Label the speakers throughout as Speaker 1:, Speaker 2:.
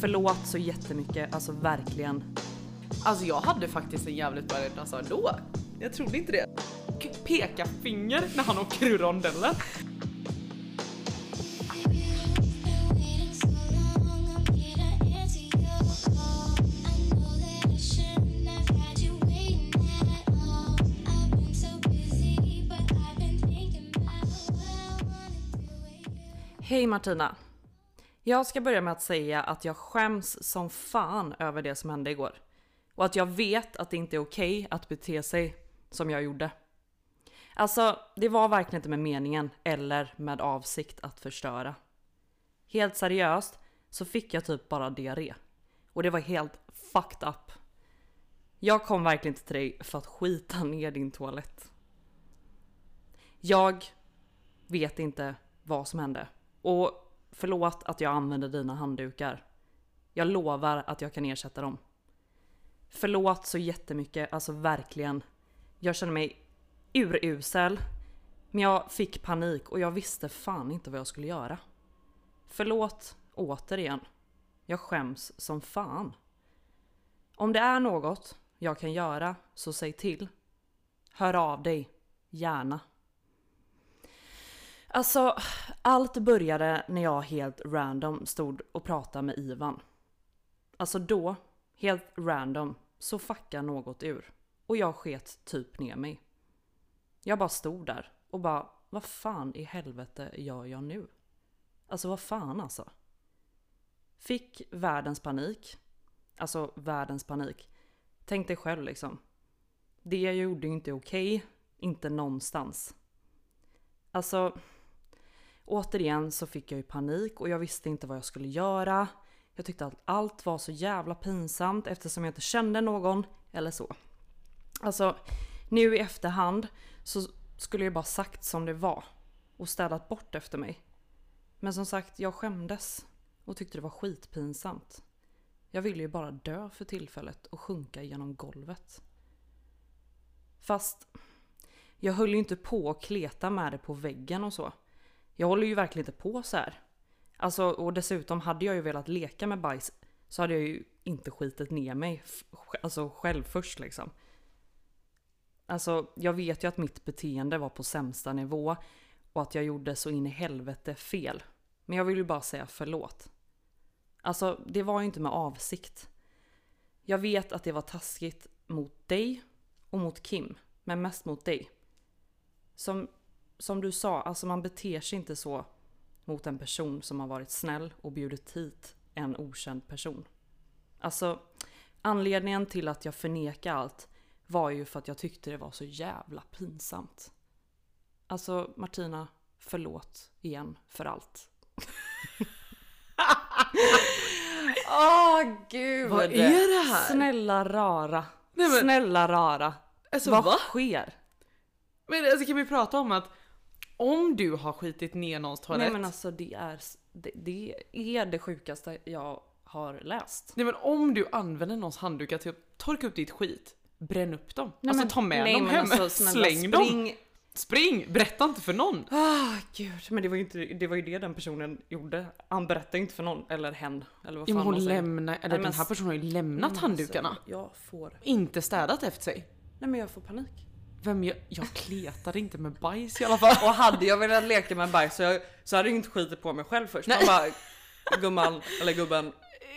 Speaker 1: Förlåt så jättemycket, alltså verkligen.
Speaker 2: Alltså jag hade faktiskt en jävligt bra dansör då. Jag trodde inte det. K- Peka finger när han åker ur rondellen.
Speaker 1: Hej Martina. Jag ska börja med att säga att jag skäms som fan över det som hände igår. Och att jag vet att det inte är okej att bete sig som jag gjorde. Alltså, det var verkligen inte med meningen eller med avsikt att förstöra. Helt seriöst så fick jag typ bara diarré. Och det var helt fucked up. Jag kom verkligen inte till dig för att skita ner din toalett. Jag vet inte vad som hände. Och förlåt att jag använde dina handdukar. Jag lovar att jag kan ersätta dem. Förlåt så jättemycket, alltså verkligen. Jag känner mig urusel. Men jag fick panik och jag visste fan inte vad jag skulle göra. Förlåt återigen. Jag skäms som fan. Om det är något jag kan göra så säg till. Hör av dig, gärna. Alltså, allt började när jag helt random stod och pratade med Ivan. Alltså då, helt random, så fuckade något ur. Och jag sket typ ner mig. Jag bara stod där och bara, vad fan i helvete gör jag nu? Alltså vad fan alltså. Fick världens panik. Alltså världens panik. Tänk dig själv liksom. Det jag gjorde är inte okej. Inte någonstans. Alltså, återigen så fick jag ju panik och jag visste inte vad jag skulle göra. Jag tyckte att allt var så jävla pinsamt eftersom jag inte kände någon eller så. Alltså, nu i efterhand så skulle jag bara sagt som det var och städat bort efter mig. Men som sagt, jag skämdes och tyckte det var skitpinsamt. Jag ville ju bara dö för tillfället och sjunka genom golvet. Fast jag höll ju inte på att kleta med det på väggen och så. Jag håller ju verkligen inte på så här. Alltså, och dessutom hade jag ju velat leka med bajs så hade jag ju inte skitit ner mig f- alltså själv först liksom. Alltså, jag vet ju att mitt beteende var på sämsta nivå och att jag gjorde så in i helvete fel. Men jag vill ju bara säga förlåt. Alltså, det var ju inte med avsikt. Jag vet att det var taskigt mot dig och mot Kim, men mest mot dig. Som, som du sa, alltså man beter sig inte så mot en person som har varit snäll och bjudit hit en okänd person. Alltså, anledningen till att jag förnekade allt var ju för att jag tyckte det var så jävla pinsamt. Alltså Martina, förlåt igen för allt.
Speaker 2: Åh gud!
Speaker 3: Vad är det här?
Speaker 1: Snälla rara.
Speaker 2: Nej, men-
Speaker 1: Snälla rara.
Speaker 2: Alltså
Speaker 1: Vad
Speaker 2: va?
Speaker 1: sker?
Speaker 2: Men alltså kan vi prata om att om du har skitit ner någons toalett.
Speaker 1: Nej men alltså det är, det, det är det sjukaste jag har läst.
Speaker 2: om du använder någons handdukar till att typ torka upp ditt skit, bränn upp dem. alltså
Speaker 1: men-
Speaker 2: ta med
Speaker 1: nej,
Speaker 2: dem
Speaker 1: men
Speaker 2: hem,
Speaker 1: alltså, snälla,
Speaker 2: släng dem.
Speaker 1: spring.
Speaker 2: Spring! Berätta inte för någon.
Speaker 1: Ah, gud. Men det var, ju inte, det var ju det den personen gjorde. Han berättade inte för någon, eller hen. Eller vad
Speaker 2: Ja,
Speaker 1: fan
Speaker 2: men hon
Speaker 1: man säger.
Speaker 2: lämnar, eller
Speaker 1: Nej, men
Speaker 2: den här
Speaker 1: s-
Speaker 2: personen har ju lämnat handdukarna.
Speaker 1: Alltså, jag får...
Speaker 2: Inte städat efter sig.
Speaker 1: Nej men jag får panik.
Speaker 2: Vem jag, jag kletade inte med bajs i alla fall.
Speaker 1: Och hade jag velat leka med bajs så, jag, så hade jag inte skitit på mig själv först. Man bara gumman, eller gubben,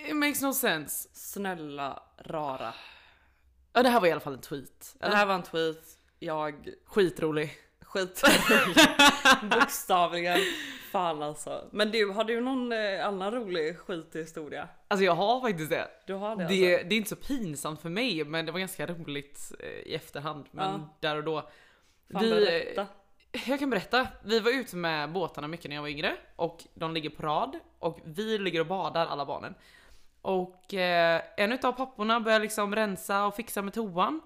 Speaker 2: It makes no sense.
Speaker 1: snälla rara.
Speaker 2: Ja, det här var i alla fall en tweet.
Speaker 1: Det
Speaker 2: Eller?
Speaker 1: här var en tweet. Jag
Speaker 2: Skitrolig.
Speaker 1: skit Bokstavligen. Fan alltså. Men du, har du någon eh, annan rolig skithistoria?
Speaker 2: Alltså jag har faktiskt det.
Speaker 1: Du har det,
Speaker 2: Det,
Speaker 1: alltså?
Speaker 2: det är inte så pinsamt för mig men det var ganska roligt eh, i efterhand. Men
Speaker 1: Ja.
Speaker 2: där och då.
Speaker 1: Fan, berätta.
Speaker 2: Jag kan berätta. Vi var ute med båtarna mycket när jag var yngre och de ligger på rad och vi ligger och badar alla barnen. Och eh, en utav papporna börjar liksom rensa och fixa med toan.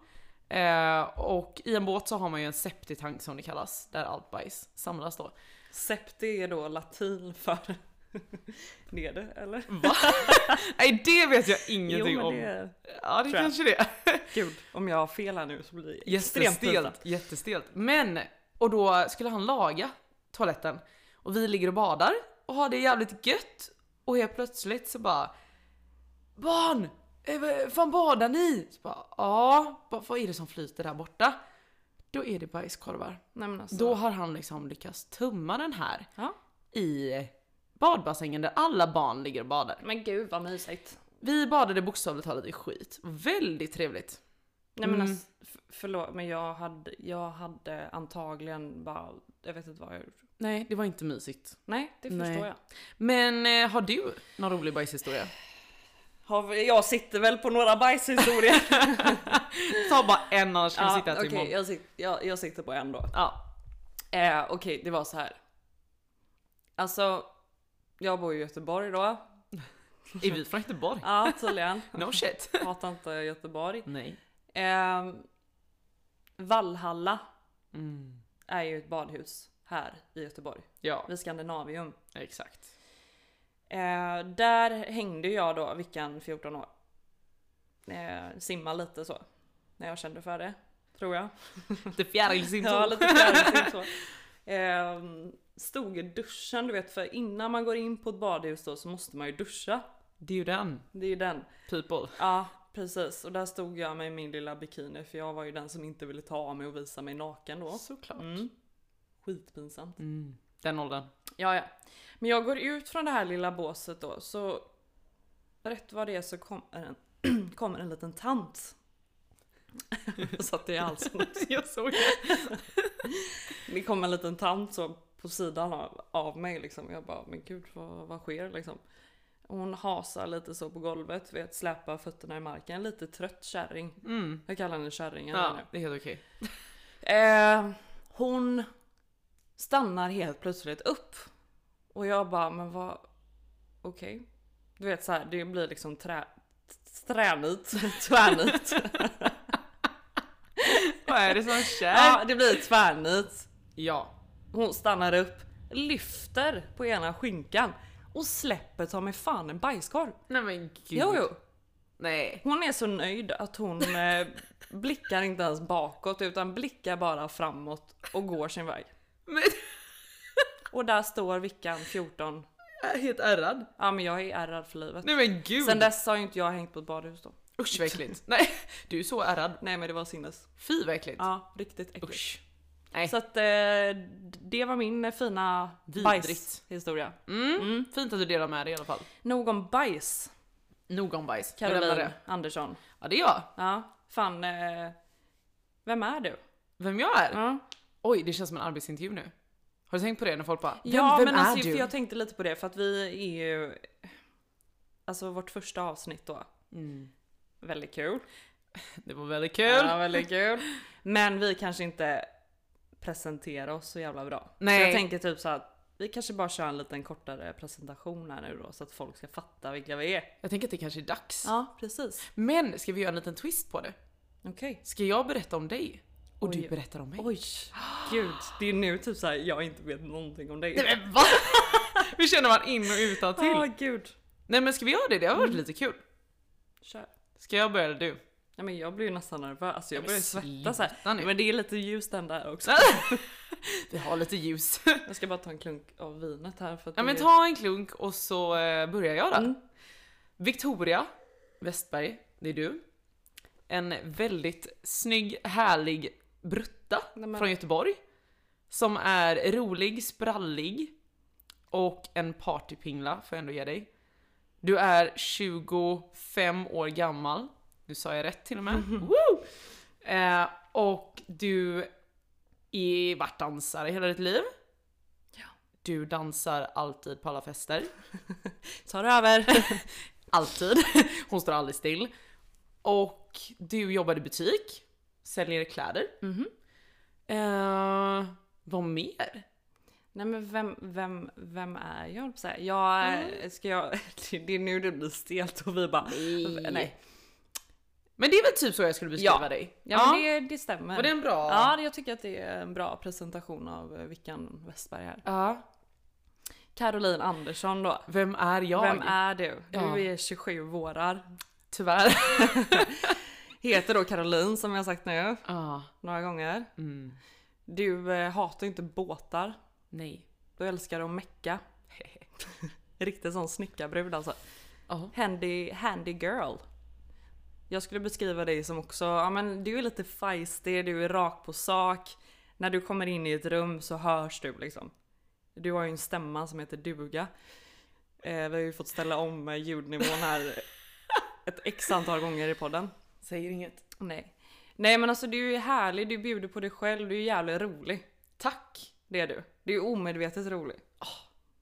Speaker 2: Eh, och i en båt så har man ju en septitank som det kallas, där allt bajs samlas då.
Speaker 1: Septi är då latin för nere eller?
Speaker 2: Nej det vet jag ingenting
Speaker 1: jo men
Speaker 2: om.
Speaker 1: det är...
Speaker 2: Ja det
Speaker 1: tror jag.
Speaker 2: kanske det.
Speaker 1: Gud, om jag har fel här nu så blir det extremt pinsamt.
Speaker 2: Jättestelt, jättestelt. Men, och då skulle han laga toaletten. Och vi ligger och badar och har det jävligt gött. Och helt plötsligt så bara Barn! eh, vad- Fan badar ni? Så bara, ja, bara, vad är det som flyter där borta? Då är det bajskorvar.
Speaker 1: Nej, men alltså.
Speaker 2: Då har han liksom lyckats tumma den här
Speaker 1: Ja.
Speaker 2: i badbassängen där alla barn ligger och badar.
Speaker 1: Men gud vad mysigt.
Speaker 2: Vi badade bokstavligt talat i skit. Väldigt trevligt.
Speaker 1: Nej men
Speaker 2: Mm.
Speaker 1: alltså, f- förlåt men jag hade, jag hade antagligen bara, jag vet inte vad jag gjort.
Speaker 2: Nej, det var inte mysigt.
Speaker 1: Nej, det
Speaker 2: Nej.
Speaker 1: förstår jag.
Speaker 2: Men eh, har du någon rolig bajshistoria?
Speaker 1: Har vi- Jag sitter väl på några bajshistorier.
Speaker 2: Ta bara en annars kan vi
Speaker 1: ja,
Speaker 2: sitta här till
Speaker 1: okej,
Speaker 2: imorgon.
Speaker 1: jag, sit, jag, jag sitter på en då.
Speaker 2: Ja.
Speaker 1: Eh, okej, det var så här. Alltså, jag bor i Göteborg då.
Speaker 2: Är vi från Göteborg?
Speaker 1: Ja, tydligen.
Speaker 2: No shit.
Speaker 1: Hatar inte Göteborg.
Speaker 2: Nej.
Speaker 1: Eh, Vallhalla
Speaker 2: Mm.
Speaker 1: är ju ett badhus här i Göteborg.
Speaker 2: Ja,
Speaker 1: Vid Skandinavium.
Speaker 2: exakt.
Speaker 1: Eh, där hängde jag då veckan 14 år. Eh, simma lite så. När jag kände för det. Tror jag.
Speaker 2: Lite fjärilsim
Speaker 1: Ja, lite fjärilsim så. Eh, stod i duschen, du vet. För innan man går in på ett badhus då så måste man ju duscha.
Speaker 2: Det är ju den,
Speaker 1: Det är ju den.
Speaker 2: people.
Speaker 1: Ja, precis. Och där stod jag med min lilla bikini. För jag var ju den som inte ville ta av mig och visa mig naken då.
Speaker 2: Såklart.
Speaker 1: Mm. Skitpinsamt.
Speaker 2: Mm. Den åldern.
Speaker 1: Ja, ja. Men jag går ut från det här lilla båset då så rätt vad det är så kommer en, kommer en liten tant. jag satte i halsen också.
Speaker 2: jag såg det.
Speaker 1: Det kom en liten tant så på sidan av, av mig liksom. Jag bara, men gud vad, vad sker liksom? Hon hasar lite så på golvet, vet, släpar fötterna i marken. Lite trött kärring.
Speaker 2: Mm.
Speaker 1: Jag kallar henne kärringen där
Speaker 2: Ja,
Speaker 1: nu.
Speaker 2: det är helt okej.
Speaker 1: Eh, hon stannar helt plötsligt upp. Och jag bara, men vad... Okej. Du vet så här, det blir liksom trä... Tränit. Tvärnit.
Speaker 2: Vad är det som kär?
Speaker 1: ja, det blir tvärnit.
Speaker 2: Ja.
Speaker 1: Hon stannar upp, lyfter på ena skinkan och släpper ta mig fan en bajskorv.
Speaker 2: Nej men gud.
Speaker 1: Jo, jo.
Speaker 2: Nej.
Speaker 1: Hon är så nöjd att hon eh, blickar inte ens bakåt utan blickar bara framåt och går sin väg.
Speaker 2: Men,
Speaker 1: Och där står Vickan 14
Speaker 2: jag är helt ärrad.
Speaker 1: Ja men jag är ärrad för livet.
Speaker 2: Nej men gud.
Speaker 1: Sen dess har ju inte jag hängt på ett badhus då.
Speaker 2: Usch vad äckligt. Nej, du är så ärrad.
Speaker 1: Nej men det var sinnes.
Speaker 2: Fy vad äckligt.
Speaker 1: Ja, riktigt äckligt.
Speaker 2: Usch. Nej.
Speaker 1: Så att eh, det var min fina
Speaker 2: Vidrigt.
Speaker 1: bajshistoria.
Speaker 2: Mm. Fint att du delar med dig i alla fall.
Speaker 1: Nog om bajs,
Speaker 2: Nog om bajs. Jag lämnar
Speaker 1: Caroline
Speaker 2: det.
Speaker 1: Andersson.
Speaker 2: Ja det är jag.
Speaker 1: Ja, fan. Eh, vem är du?
Speaker 2: Vem jag är?
Speaker 1: Ja,
Speaker 2: Oj, det känns som en arbetsintervju nu. Har du tänkt på det när folk bara Vem,
Speaker 1: ja
Speaker 2: vem
Speaker 1: men
Speaker 2: är
Speaker 1: alltså
Speaker 2: du?
Speaker 1: för jag tänkte lite på det för att vi är ju... Alltså vårt första avsnitt då.
Speaker 2: Mm.
Speaker 1: Väldigt kul.
Speaker 2: Det var väldigt kul.
Speaker 1: Ja, väldigt kul. Men vi kanske inte presenterar oss så jävla bra.
Speaker 2: Nej.
Speaker 1: Så jag tänker typ så att vi kanske bara kör en liten kortare presentation här nu då så att folk ska fatta vilka vi är.
Speaker 2: Jag tänker att det kanske är dags.
Speaker 1: Ja, precis.
Speaker 2: Men ska vi göra en liten twist på det?
Speaker 1: Okej.
Speaker 2: Ska jag berätta om dig? Och
Speaker 1: Oj.
Speaker 2: du berättar om mig?
Speaker 1: Oj, gud. Det är nu typ så här, jag inte vet någonting om dig.
Speaker 2: Nej men va? Hur känner man in och utan till?
Speaker 1: Ja, gud.
Speaker 2: Nej men ska vi göra det? Det har varit lite kul.
Speaker 1: Kör.
Speaker 2: Ska jag börja eller du?
Speaker 1: Ja, men Mm. jag blir ju nästan nervös, alltså, jag
Speaker 2: men
Speaker 1: börjar svettas här.
Speaker 2: sluta nu.
Speaker 1: Men det är lite ljust den där också.
Speaker 2: Vi har lite ljus.
Speaker 1: Jag ska bara ta en klunk av vinet här för att
Speaker 2: Ja
Speaker 1: det
Speaker 2: men
Speaker 1: är-
Speaker 2: ta en klunk och så eh, börjar jag då.
Speaker 1: Mm.
Speaker 2: Victoria Westberg, det är du. En väldigt snygg, härlig brutta
Speaker 1: Nej, men-
Speaker 2: från Göteborg. Som är rolig, sprallig och en partypingla får jag ändå ge dig. Du är 25 år gammal. Nu sa jag rätt till och med. Woo! Eh, och du är varit dansare hela ditt liv. Du dansar alltid på alla fester.
Speaker 1: Ta det över.
Speaker 2: Alltid. Hon står aldrig still. Och du jobbar i butik, säljer kläder.
Speaker 1: Mhm.
Speaker 2: Eh, vad mer?
Speaker 1: Nej men vem, vem, vem är jag höll på att säga. Jag, är- ska jag, det är nu det blir stelt och vi bara
Speaker 2: Nej.
Speaker 1: nej.
Speaker 2: Men det är väl typ så jag skulle beskriva
Speaker 1: Ja.
Speaker 2: dig?
Speaker 1: Ja men det, det stämmer.
Speaker 2: Var det en bra...
Speaker 1: Ja jag tycker att det är en bra presentation av eh, Vickan Westberg här.
Speaker 2: Ja.
Speaker 1: Caroline Andersson då.
Speaker 2: Vem är jag?
Speaker 1: Vem är du? Du
Speaker 2: Ja.
Speaker 1: är 27 vårar.
Speaker 2: Tyvärr.
Speaker 1: Heter då Caroline som jag sagt nu
Speaker 2: Ja.
Speaker 1: några gånger.
Speaker 2: Mm.
Speaker 1: Du eh, hatar inte båtar.
Speaker 2: Nej.
Speaker 1: Du älskar att mecka. Riktigt sån snickarbrud alltså.
Speaker 2: Ja Ja.
Speaker 1: Handy, handy girl. Jag skulle beskriva dig som också, ja men du är lite feisty, du är rak på sak. När du kommer in i ett rum så hörs du liksom. Du har ju en stämma som heter duga. Eh, vi har ju fått ställa om eh, ljudnivån här ett x antal gånger i podden.
Speaker 2: Säger inget.
Speaker 1: Nej. Nej men alltså du är härlig, du bjuder på dig själv, du är jävligt rolig.
Speaker 2: Tack!
Speaker 1: Det är du. Du är omedvetet rolig.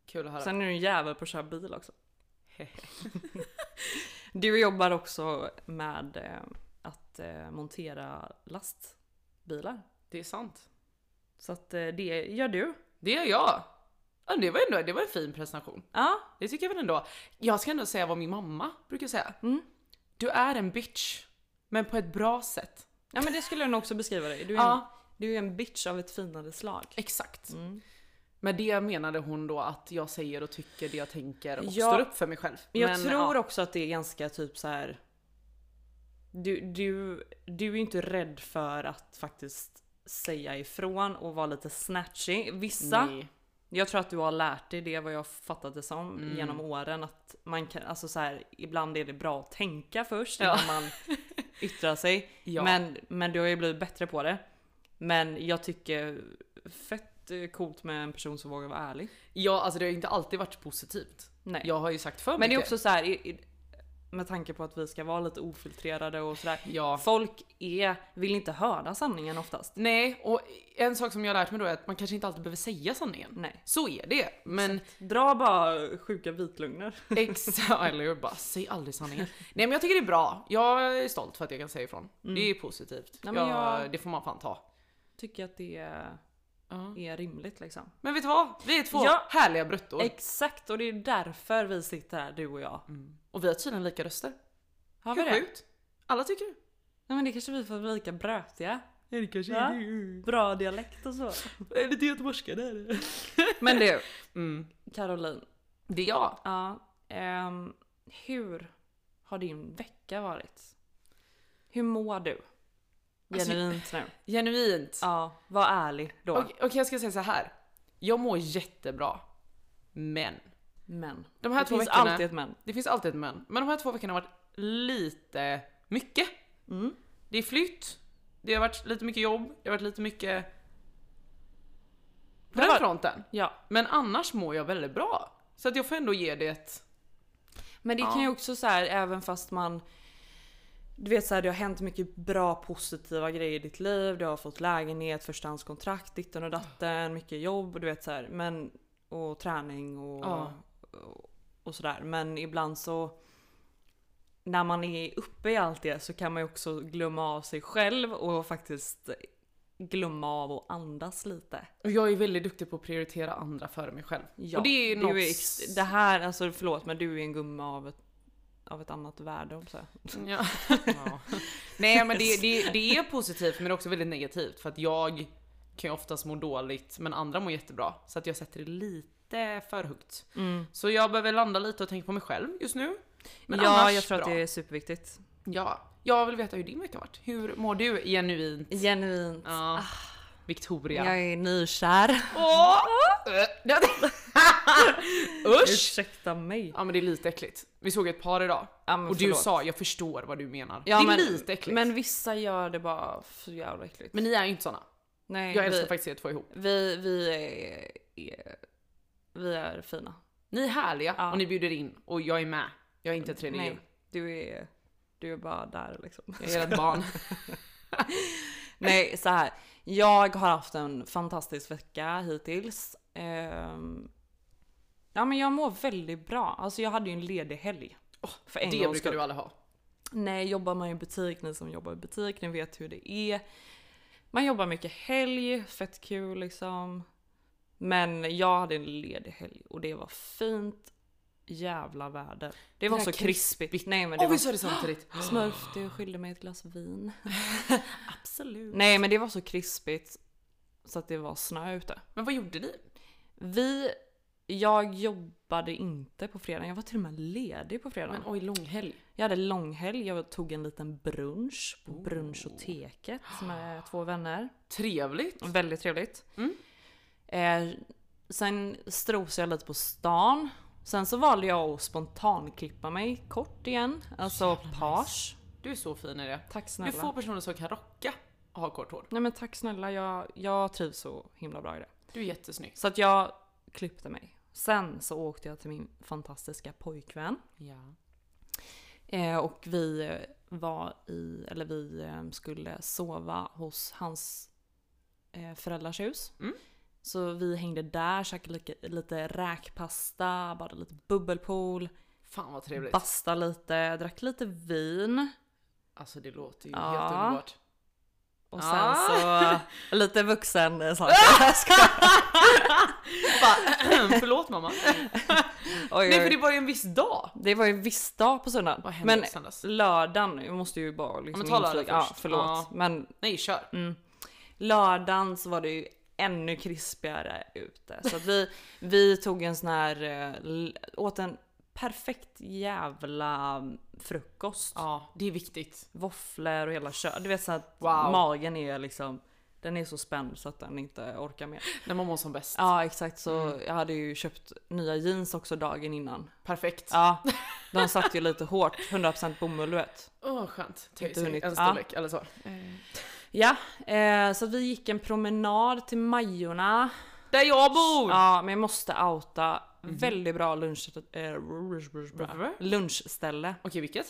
Speaker 2: Kul att höra.
Speaker 1: Sen är du en jävel på att köra bil också. Du jobbar också med eh, att eh, montera lastbilar.
Speaker 2: Det är sant.
Speaker 1: Så att eh, det gör du.
Speaker 2: Det är jag. Ja, det, var ändå, det var en fin presentation.
Speaker 1: Ja,
Speaker 2: Det tycker jag väl ändå. Jag ska ändå säga vad min mamma brukar säga.
Speaker 1: Mm.
Speaker 2: Du är en bitch, men på ett bra sätt.
Speaker 1: ja men det skulle jag nog också beskriva dig. Du är, en,
Speaker 2: Ja,
Speaker 1: du är en bitch av ett finare slag.
Speaker 2: exakt.
Speaker 1: Mm.
Speaker 2: Med det menade hon då att jag säger och tycker det jag tänker och
Speaker 1: Ja.
Speaker 2: står upp för mig själv.
Speaker 1: Men jag
Speaker 2: Men,
Speaker 1: tror
Speaker 2: ja.
Speaker 1: också att det är ganska typ så här. Du, du, du är ju inte rädd för att faktiskt säga ifrån och vara lite snatchy. Vissa
Speaker 2: Nej.
Speaker 1: Jag tror att du har lärt dig det vad jag fattat det som
Speaker 2: Mm.
Speaker 1: genom åren att man kan, alltså så här, ibland är det bra att tänka först
Speaker 2: Ja.
Speaker 1: innan man yttrar sig.
Speaker 2: Ja.
Speaker 1: Men, men du har ju blivit bättre på det. Men jag tycker fett eh, coolt med en person som vågar vara ärlig.
Speaker 2: ja, alltså det har ju inte alltid varit positivt.
Speaker 1: Nej.
Speaker 2: Jag har ju sagt för
Speaker 1: men det är
Speaker 2: mycket.
Speaker 1: också så här, i, i, med tanke på att vi ska vara lite ofiltrerade och sådär.
Speaker 2: Ja.
Speaker 1: Folk är, vill inte höra sanningen oftast.
Speaker 2: Nej, och en sak som jag har lärt mig då är att man kanske inte alltid behöver säga sanningen.
Speaker 1: Nej.
Speaker 2: Så är det. Men
Speaker 1: Dra bara sjuka vitlugner.
Speaker 2: Exakt, eller hur? Bara säg aldrig sanningen. Nej men jag tycker det är bra. Jag är stolt för att jag kan säga ifrån. Det är positivt.
Speaker 1: Mm. Nej, men
Speaker 2: jag...
Speaker 1: jag-
Speaker 2: Det får man fan ta.
Speaker 1: Tycker att det är, är rimligt liksom.
Speaker 2: Men vet du vad? Vi är två
Speaker 1: Ja.
Speaker 2: härliga bröttor.
Speaker 1: Exakt och det är därför vi sitter här du och jag.
Speaker 2: Mm. Och vi har tydligen lika röster.
Speaker 1: Har vi
Speaker 2: Hur
Speaker 1: det?
Speaker 2: sjukt? Alla tycker det.
Speaker 1: Nej men det kanske vi får vara lika brötiga.
Speaker 2: Är det kanske
Speaker 1: Ja. Bra dialekt och så.
Speaker 2: Är det göteborgska där?
Speaker 1: Men du
Speaker 2: Mm.
Speaker 1: Caroline.
Speaker 2: Det är jag.
Speaker 1: Ja, ehm, hur har din vecka varit? Hur mår du?
Speaker 2: Alltså,
Speaker 1: Genuint nu.
Speaker 2: Genuint.
Speaker 1: Ja, var ärlig då.
Speaker 2: Okej okej, jag ska säga så här. Jag mår jättebra. Men.
Speaker 1: Men.
Speaker 2: De här
Speaker 1: Det
Speaker 2: två
Speaker 1: finns
Speaker 2: veckorna.
Speaker 1: alltid ett men.
Speaker 2: Det finns alltid ett men. Men de här två veckorna har varit lite mycket.
Speaker 1: Mm.
Speaker 2: Det är flytt, det har varit lite mycket jobb, det har varit lite mycket... På
Speaker 1: Det har
Speaker 2: den
Speaker 1: varit-
Speaker 2: fronten.
Speaker 1: Ja.
Speaker 2: Men annars mår jag väldigt bra. Så att jag får ändå ge det ett...
Speaker 1: Men det
Speaker 2: Ja.
Speaker 1: kan ju också så här, även fast man du vet så här, det har hänt mycket bra positiva grejer i ditt liv. Du har fått lägenhet, förstahandskontrakt, ditten och datten, mycket jobb och du vet så här, men och träning och,
Speaker 2: Ja.
Speaker 1: och, och sådär. Men ibland så när man är uppe i allt det så kan man ju också glömma av sig själv och faktiskt glömma av att andas lite.
Speaker 2: Och jag är väldigt duktig på att prioritera andra före mig själv.
Speaker 1: Ja,
Speaker 2: och det är
Speaker 1: du
Speaker 2: något...
Speaker 1: ex- det här, alltså förlåt men du är en gumma av ett, av ett annat värde. om Så här.
Speaker 2: Ja. Nej men det, det, det är positivt men det är också väldigt negativt för att jag kan ju oftast må dåligt men andra mår jättebra. Så att jag sätter det lite för högt.
Speaker 1: Mm.
Speaker 2: Så jag behöver landa lite och tänka på mig själv just nu. Men
Speaker 1: ja,
Speaker 2: annars
Speaker 1: jag tror
Speaker 2: bra.
Speaker 1: att det är superviktigt.
Speaker 2: Ja, jag vill veta hur din vecka har varit. Hur mår du genuint?
Speaker 1: Genuint.
Speaker 2: Ja. Victoria.
Speaker 1: Ah. Jag är nykär.
Speaker 2: Åh! Usch!
Speaker 1: Ursäkta mig.
Speaker 2: Ja men det är lite äckligt. Vi såg ett par idag
Speaker 1: Ja, men
Speaker 2: och du
Speaker 1: förlåt.
Speaker 2: sa jag förstår vad du menar.
Speaker 1: Ja,
Speaker 2: det är
Speaker 1: men,
Speaker 2: lite äckligt. Men,
Speaker 1: Men vissa gör det bara för jävla äckligt.
Speaker 2: ni är ju inte såna.
Speaker 1: Nej,
Speaker 2: Jag älskar
Speaker 1: vi,
Speaker 2: faktiskt er två ihop.
Speaker 1: vi, vi, är, är, vi är fina.
Speaker 2: Ni är härliga
Speaker 1: Ja.
Speaker 2: och ni bjuder in och jag är med. Jag är inte ett tredje
Speaker 1: Nej,
Speaker 2: djur.
Speaker 1: du är, du är bara där liksom.
Speaker 2: Jag är ett barn.
Speaker 1: Nej, så här. Jag har haft en fantastisk vecka hittills. Ehm, ja, men jag mår väldigt bra. Alltså, jag hade ju en ledig helg. för en
Speaker 2: Det
Speaker 1: gångs
Speaker 2: brukar
Speaker 1: skull.
Speaker 2: du aldrig ha.
Speaker 1: Nej, jobbar man i butik, ni som jobbar i butik, ni vet hur det är. Man jobbar mycket helg, fett kul liksom. Men jag hade en ledig helg och det var fint jävla väder. Det var
Speaker 2: här
Speaker 1: så krispigt. Nej men det
Speaker 2: Åh vi
Speaker 1: var
Speaker 2: sa det samtidigt.
Speaker 1: smurf, du skyllde mig ett glas vin.
Speaker 2: Absolut.
Speaker 1: Nej men det var så krispigt så att det var snö ute.
Speaker 2: Men vad gjorde ni?
Speaker 1: Vi, jag jobbade inte på fredagen, jag var till och med ledig på fredagen.
Speaker 2: Men oj långhelg.
Speaker 1: Jag hade långhelg, jag tog en liten brunch på
Speaker 2: Oh.
Speaker 1: Brunchoteket med två vänner.
Speaker 2: Trevligt.
Speaker 1: Väldigt trevligt.
Speaker 2: Mm.
Speaker 1: Eh, sen strosade jag lite på stan Sen så valde jag att spontanklippa mig kort igen. Alltså
Speaker 2: Jävla nice.
Speaker 1: page.
Speaker 2: Du är så fin i det.
Speaker 1: Tack
Speaker 2: Det
Speaker 1: snälla.
Speaker 2: är få personer som kan rocka och ha kort hår.
Speaker 1: Nej men tack snälla, jag, jag trivs så himla bra i det.
Speaker 2: Du är jättesnygg.
Speaker 1: Så att jag klippte mig. Sen så åkte jag till min fantastiska pojkvän.
Speaker 2: Ja.
Speaker 1: Eh, och vi eh, var i, eller vi eh, skulle sova hos hans eh, föräldrars hus.
Speaker 2: Mm.
Speaker 1: Så vi hängde där, käkade lite, lite räkpasta, badade lite bubbelpool,
Speaker 2: Fan vad trevligt.
Speaker 1: basta lite, drack lite vin.
Speaker 2: Alltså det låter ju
Speaker 1: Ja.
Speaker 2: helt underbart.
Speaker 1: Och sen
Speaker 2: Ah.
Speaker 1: så lite vuxen eh, sak.
Speaker 2: Bara, Förlåt mamma.
Speaker 1: Oj,
Speaker 2: Nej för
Speaker 1: oj.
Speaker 2: det var ju en viss dag.
Speaker 1: Det var ju en viss dag på
Speaker 2: Vad
Speaker 1: söndagen.
Speaker 2: hände
Speaker 1: Men
Speaker 2: i söndags?
Speaker 1: lördagen, jag måste ju bara liksom
Speaker 2: men ta lördag
Speaker 1: inflika- Ja,
Speaker 2: först.
Speaker 1: förlåt.
Speaker 2: Ja.
Speaker 1: Men
Speaker 2: Nej kör.
Speaker 1: Mm. Lördagen så var det ju ännu krispigare ute. Så att vi, vi tog en sån här, eh, l- åt en perfekt jävla mm, frukost.
Speaker 2: Ja det är viktigt.
Speaker 1: Våfflor och hela kör. Du vet så att
Speaker 2: Wow.
Speaker 1: magen är liksom, den är så spänd så att den inte orkar mer. Mm.
Speaker 2: När man mår som bäst.
Speaker 1: Ja exakt så jag hade ju köpt nya jeans också dagen innan.
Speaker 2: Perfekt.
Speaker 1: Ja, de satt ju lite hårt, 100% bomull du vet.
Speaker 2: Åh skönt. Töj
Speaker 1: Inte
Speaker 2: sig
Speaker 1: hunnit.
Speaker 2: en
Speaker 1: Ja.
Speaker 2: storlek eller så.
Speaker 1: Ja, eh, så att vi gick en promenad till Majorna.
Speaker 2: Där jag bor! Mhm.
Speaker 1: Ja, men jag måste outa. Väldigt bra lunch, eh,
Speaker 2: Brr.
Speaker 1: lunchställe.
Speaker 2: Okej vilket?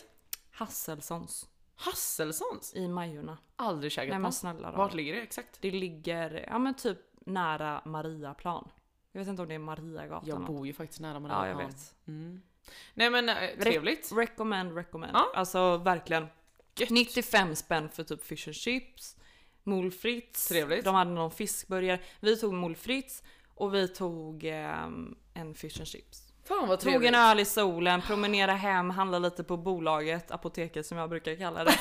Speaker 1: Hasselsons
Speaker 2: Hasselssons?
Speaker 1: i Majorna.
Speaker 2: Aldrig käkat
Speaker 1: Nej
Speaker 2: på.
Speaker 1: men snälla då.
Speaker 2: Vart ligger det exakt?
Speaker 1: Det ligger ja, men typ nära Mariaplan. Jag vet inte om det är Mariagatan.
Speaker 2: Jag
Speaker 1: eller något.
Speaker 2: bor ju faktiskt nära Maria.
Speaker 1: Ja, jag vet.
Speaker 2: Mm. Nej men eh, trevligt.
Speaker 1: Recommend, recommend.
Speaker 2: Ja.
Speaker 1: Alltså verkligen.
Speaker 2: Gött.
Speaker 1: 95 spänn för typ fish and chips, moules frites.
Speaker 2: Trevligt.
Speaker 1: De hade någon fiskburgare. Vi tog moules frites och vi tog ehm, en fish and chips.
Speaker 2: Fan
Speaker 1: Tog
Speaker 2: vad trevligt.
Speaker 1: en öl i solen, promenera hem, handla lite på bolaget, apoteket som jag brukar kalla det.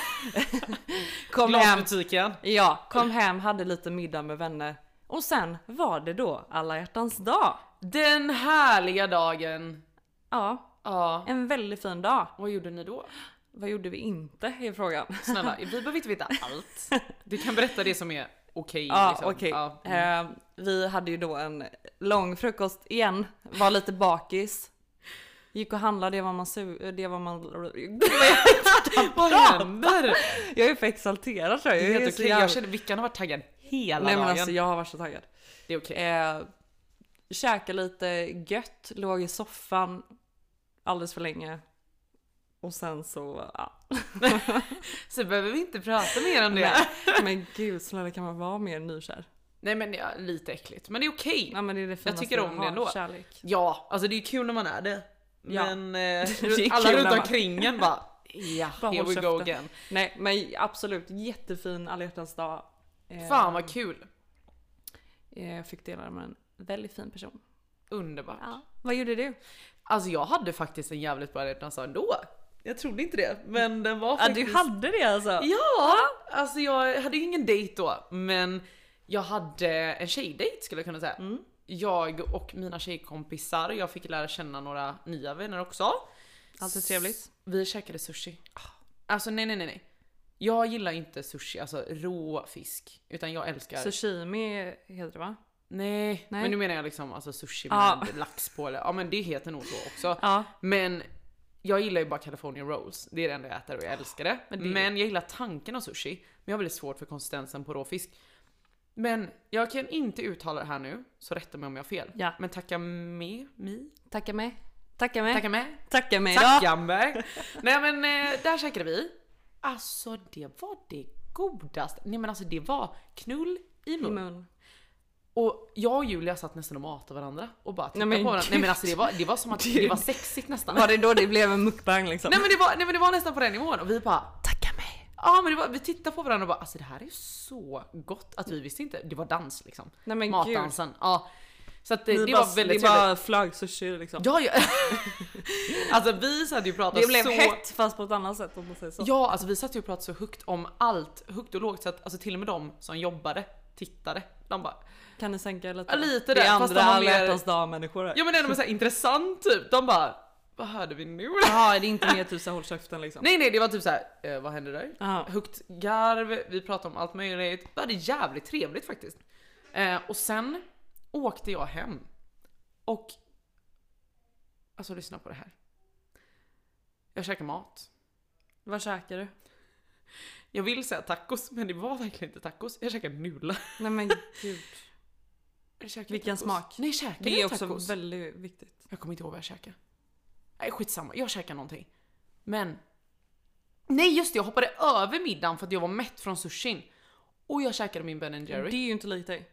Speaker 1: kom hem,
Speaker 2: Glasbutiken.
Speaker 1: ja, kom hem, hade lite middag med vänner. Och sen var det då alla hjärtans dag.
Speaker 2: Den härliga dagen.
Speaker 1: Ja,
Speaker 2: Ja.
Speaker 1: en väldigt fin dag.
Speaker 2: Vad gjorde ni då?
Speaker 1: Vad gjorde vi inte är frågan.
Speaker 2: Snälla, vi behöver inte veta allt. Du kan berätta det som är okej.
Speaker 1: Ja,
Speaker 2: liksom.
Speaker 1: okej.
Speaker 2: Ja, mm.
Speaker 1: Eh, vi hade ju då en lång frukost igen, var lite bakis. Gick och handlade, det var man su- det var man...
Speaker 2: Vad händer?
Speaker 1: Jag är för exalterad tror jag.
Speaker 2: Det
Speaker 1: Jag
Speaker 2: är
Speaker 1: är
Speaker 2: helt
Speaker 1: så
Speaker 2: okej.
Speaker 1: jävla-
Speaker 2: Jag känner Vickan har varit taggad hela
Speaker 1: Nej men
Speaker 2: dagen.
Speaker 1: alltså jag har varit så taggad.
Speaker 2: Det är okej.
Speaker 1: Eh, käka lite gött, låg i soffan alldeles för länge. Och sen så, ja.
Speaker 2: Så behöver vi inte prata mer om det.
Speaker 1: Nej,
Speaker 2: Nej,
Speaker 1: men gud snälla kan man vara mer nykär?
Speaker 2: men ja, lite äckligt. Men det är okej.
Speaker 1: Ja men det är det finaste
Speaker 2: tycker om
Speaker 1: man
Speaker 2: det
Speaker 1: har,
Speaker 2: ändå.
Speaker 1: Kärlek.
Speaker 2: Ja, alltså det är kul när man är det.
Speaker 1: Ja.
Speaker 2: Men eh,
Speaker 1: Det är
Speaker 2: alla
Speaker 1: kul när
Speaker 2: runt
Speaker 1: man-
Speaker 2: omkring en bara ja,
Speaker 1: Bara
Speaker 2: here
Speaker 1: håll
Speaker 2: we go
Speaker 1: käften.
Speaker 2: again.
Speaker 1: Nej men absolut, jättefin alla hjärtans dag. Eh,
Speaker 2: Fan vad kul.
Speaker 1: eh, Jag fick dela det med en väldigt fin person.
Speaker 2: Underbart.
Speaker 1: Ja. Vad gjorde du?
Speaker 2: Alltså jag hade faktiskt en jävligt bra hjärtans dag ändå. Jag trodde inte det, men den var
Speaker 1: Ja
Speaker 2: faktiskt...
Speaker 1: du hade det alltså?
Speaker 2: Ja! Alltså jag hade ju ingen dejt då, men jag hade en tjejdejt skulle jag kunna säga.
Speaker 1: Mm.
Speaker 2: Jag och mina tjejkompisar, jag fick lära känna några nya vänner också.
Speaker 1: Alltid trevligt.
Speaker 2: Vi käkade sushi.
Speaker 1: Ah.
Speaker 2: Alltså nej nej nej. nej. Jag gillar inte sushi, alltså rå fisk. Utan jag älskar...
Speaker 1: Sushimi heter det va?
Speaker 2: Nej.
Speaker 1: Nej. Ah.
Speaker 2: men nu menar jag liksom alltså sushi med
Speaker 1: Ja.
Speaker 2: lax på eller ja men det heter nog så också.
Speaker 1: Ja.
Speaker 2: Men jag gillar ju bara California rolls, det är det enda jag äter och jag älskar det.
Speaker 1: Ah, men
Speaker 2: Men,
Speaker 1: det-
Speaker 2: jag gillar tanken av sushi, men jag har väldigt svårt för konsistensen på råfisk. Men jag kan inte uttala det här nu, så rätta mig om jag har fel.
Speaker 1: Ja.
Speaker 2: Men tacka med, mi,
Speaker 1: Tacka mig. Tacka mig.
Speaker 2: tacka med,
Speaker 1: Tacka mig då.
Speaker 2: tacka med. Nej men eh, där käkade vi. Alltså det var det godaste. Nej men alltså det var knull i
Speaker 1: I
Speaker 2: mun.
Speaker 1: mun.
Speaker 2: Och jag och Julia satt nästan och matade varandra och bara tittade
Speaker 1: men
Speaker 2: på varandra. Nej
Speaker 1: gud.
Speaker 2: men alltså det var, det var som att det var sexigt nästan.
Speaker 1: Var det då det blev en mukbang liksom?
Speaker 2: Nej men, det var, nej men det var nästan på den nivån och vi bara
Speaker 1: Tacka mig.
Speaker 2: Ja men det var, vi tittade på varandra och bara alltså det här är ju så gott att vi visste inte. Det var dans liksom.
Speaker 1: Nej men gud.
Speaker 2: Matdansen. Ja. Så att det,
Speaker 1: Ni
Speaker 2: det
Speaker 1: bara,
Speaker 2: var väldigt
Speaker 1: det
Speaker 2: trevligt.
Speaker 1: bara flög sushi liksom.
Speaker 2: Ja, ja. alltså vi hade ju pratat
Speaker 1: det blev
Speaker 2: så...
Speaker 1: hett fast på ett annat sätt om man säger så.
Speaker 2: Ja alltså vi satt ju och pratade så högt om allt, högt och lågt så att alltså, till och med de som jobbade tittade. De bara
Speaker 1: Kan ni sänka er lite?
Speaker 2: Ja, lite
Speaker 1: det
Speaker 2: där,
Speaker 1: är
Speaker 2: fast
Speaker 1: andra
Speaker 2: de har
Speaker 1: alla
Speaker 2: mer-
Speaker 1: hjärtans dag människor här.
Speaker 2: Ja men ändå med så här intressant typ. De bara vad hörde vi nu?
Speaker 1: Jaha, det är inte mer typ såhär håll käften liksom?
Speaker 2: Nej nej det var typ så här, eh, vad hände där?
Speaker 1: Jaha.
Speaker 2: Högt garv, vi pratade om allt möjligt. Vi hade jävligt trevligt faktiskt. Eh, och sen åkte jag hem. Och Alltså lyssna på det här. Jag käkar mat.
Speaker 1: Vad käkar du?
Speaker 2: Jag vill säga tacos, men det var verkligen inte tacos. Jag käkade nudlar.
Speaker 1: Nej men gud.
Speaker 2: Jag käkade
Speaker 1: Vilken
Speaker 2: tacos.
Speaker 1: smak?
Speaker 2: Nej, käkade
Speaker 1: Det är
Speaker 2: jag
Speaker 1: också
Speaker 2: tacos?
Speaker 1: väldigt viktigt.
Speaker 2: Jag kommer inte ihåg vad jag käkade. Nej, skitsamma. Jag käkade någonting. Men... Nej, just det. Jag hoppade över middagen för att jag var mätt från sushin. Och jag käkade min Ben Jerry.
Speaker 1: Det är ju inte likt dig.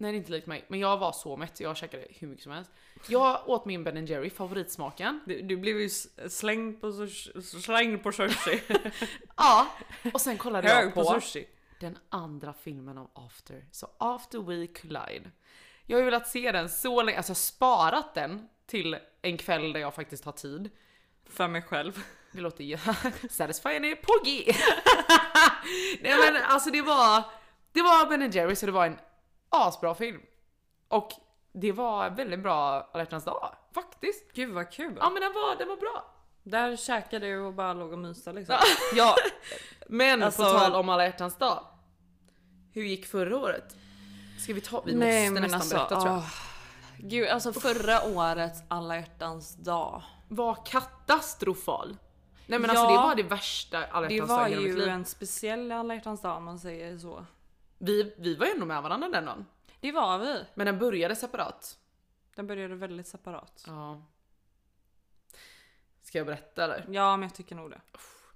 Speaker 2: Nej, det är inte likt mig. Men jag var så mätt så jag käkade hur mycket som helst. Jag åt min Ben Jerry, favoritsmaken.
Speaker 1: Du, du blev ju s- slängd på, sushi- slängd på sushi.
Speaker 2: Ja, och sen kollade jag
Speaker 1: Hög
Speaker 2: på,
Speaker 1: på sushi.
Speaker 2: den andra filmen av After. Så After We Collide. Jag har ju velat se den så länge, alltså jag har sparat den till en kväll där jag faktiskt har tid.
Speaker 1: För mig själv.
Speaker 2: Det låter ju... Satisfying är på G! Nej men alltså det var... Det var Ben Jerry så det var en asbra film. Och det var en väldigt bra alla hjärtans dag, faktiskt.
Speaker 1: Gud vad kul.
Speaker 2: Ja men den var, den var bra.
Speaker 1: Där käkade du och bara låg och mysade liksom.
Speaker 2: Ja, men
Speaker 1: Alltså-
Speaker 2: på tal om alla hjärtans dag. Hur gick förra året? Ska vi ta, vi måste nästan berätta tror jag.
Speaker 1: alltså, åh. Gud, alltså förra årets alla hjärtans dag.
Speaker 2: Var katastrofal. Nej men alltså
Speaker 1: Ja.
Speaker 2: det var det värsta alla
Speaker 1: Det
Speaker 2: hjärtans dag
Speaker 1: var
Speaker 2: i hela mitt
Speaker 1: ju
Speaker 2: liv.
Speaker 1: en speciell alla hjärtans dag om man säger så.
Speaker 2: Vi, vi var ju ändå med varandra den dagen.
Speaker 1: Det var vi.
Speaker 2: Men den började separat.
Speaker 1: Den började väldigt separat.
Speaker 2: Ja. Ska jag berätta eller?
Speaker 1: Ja, men jag tycker nog det.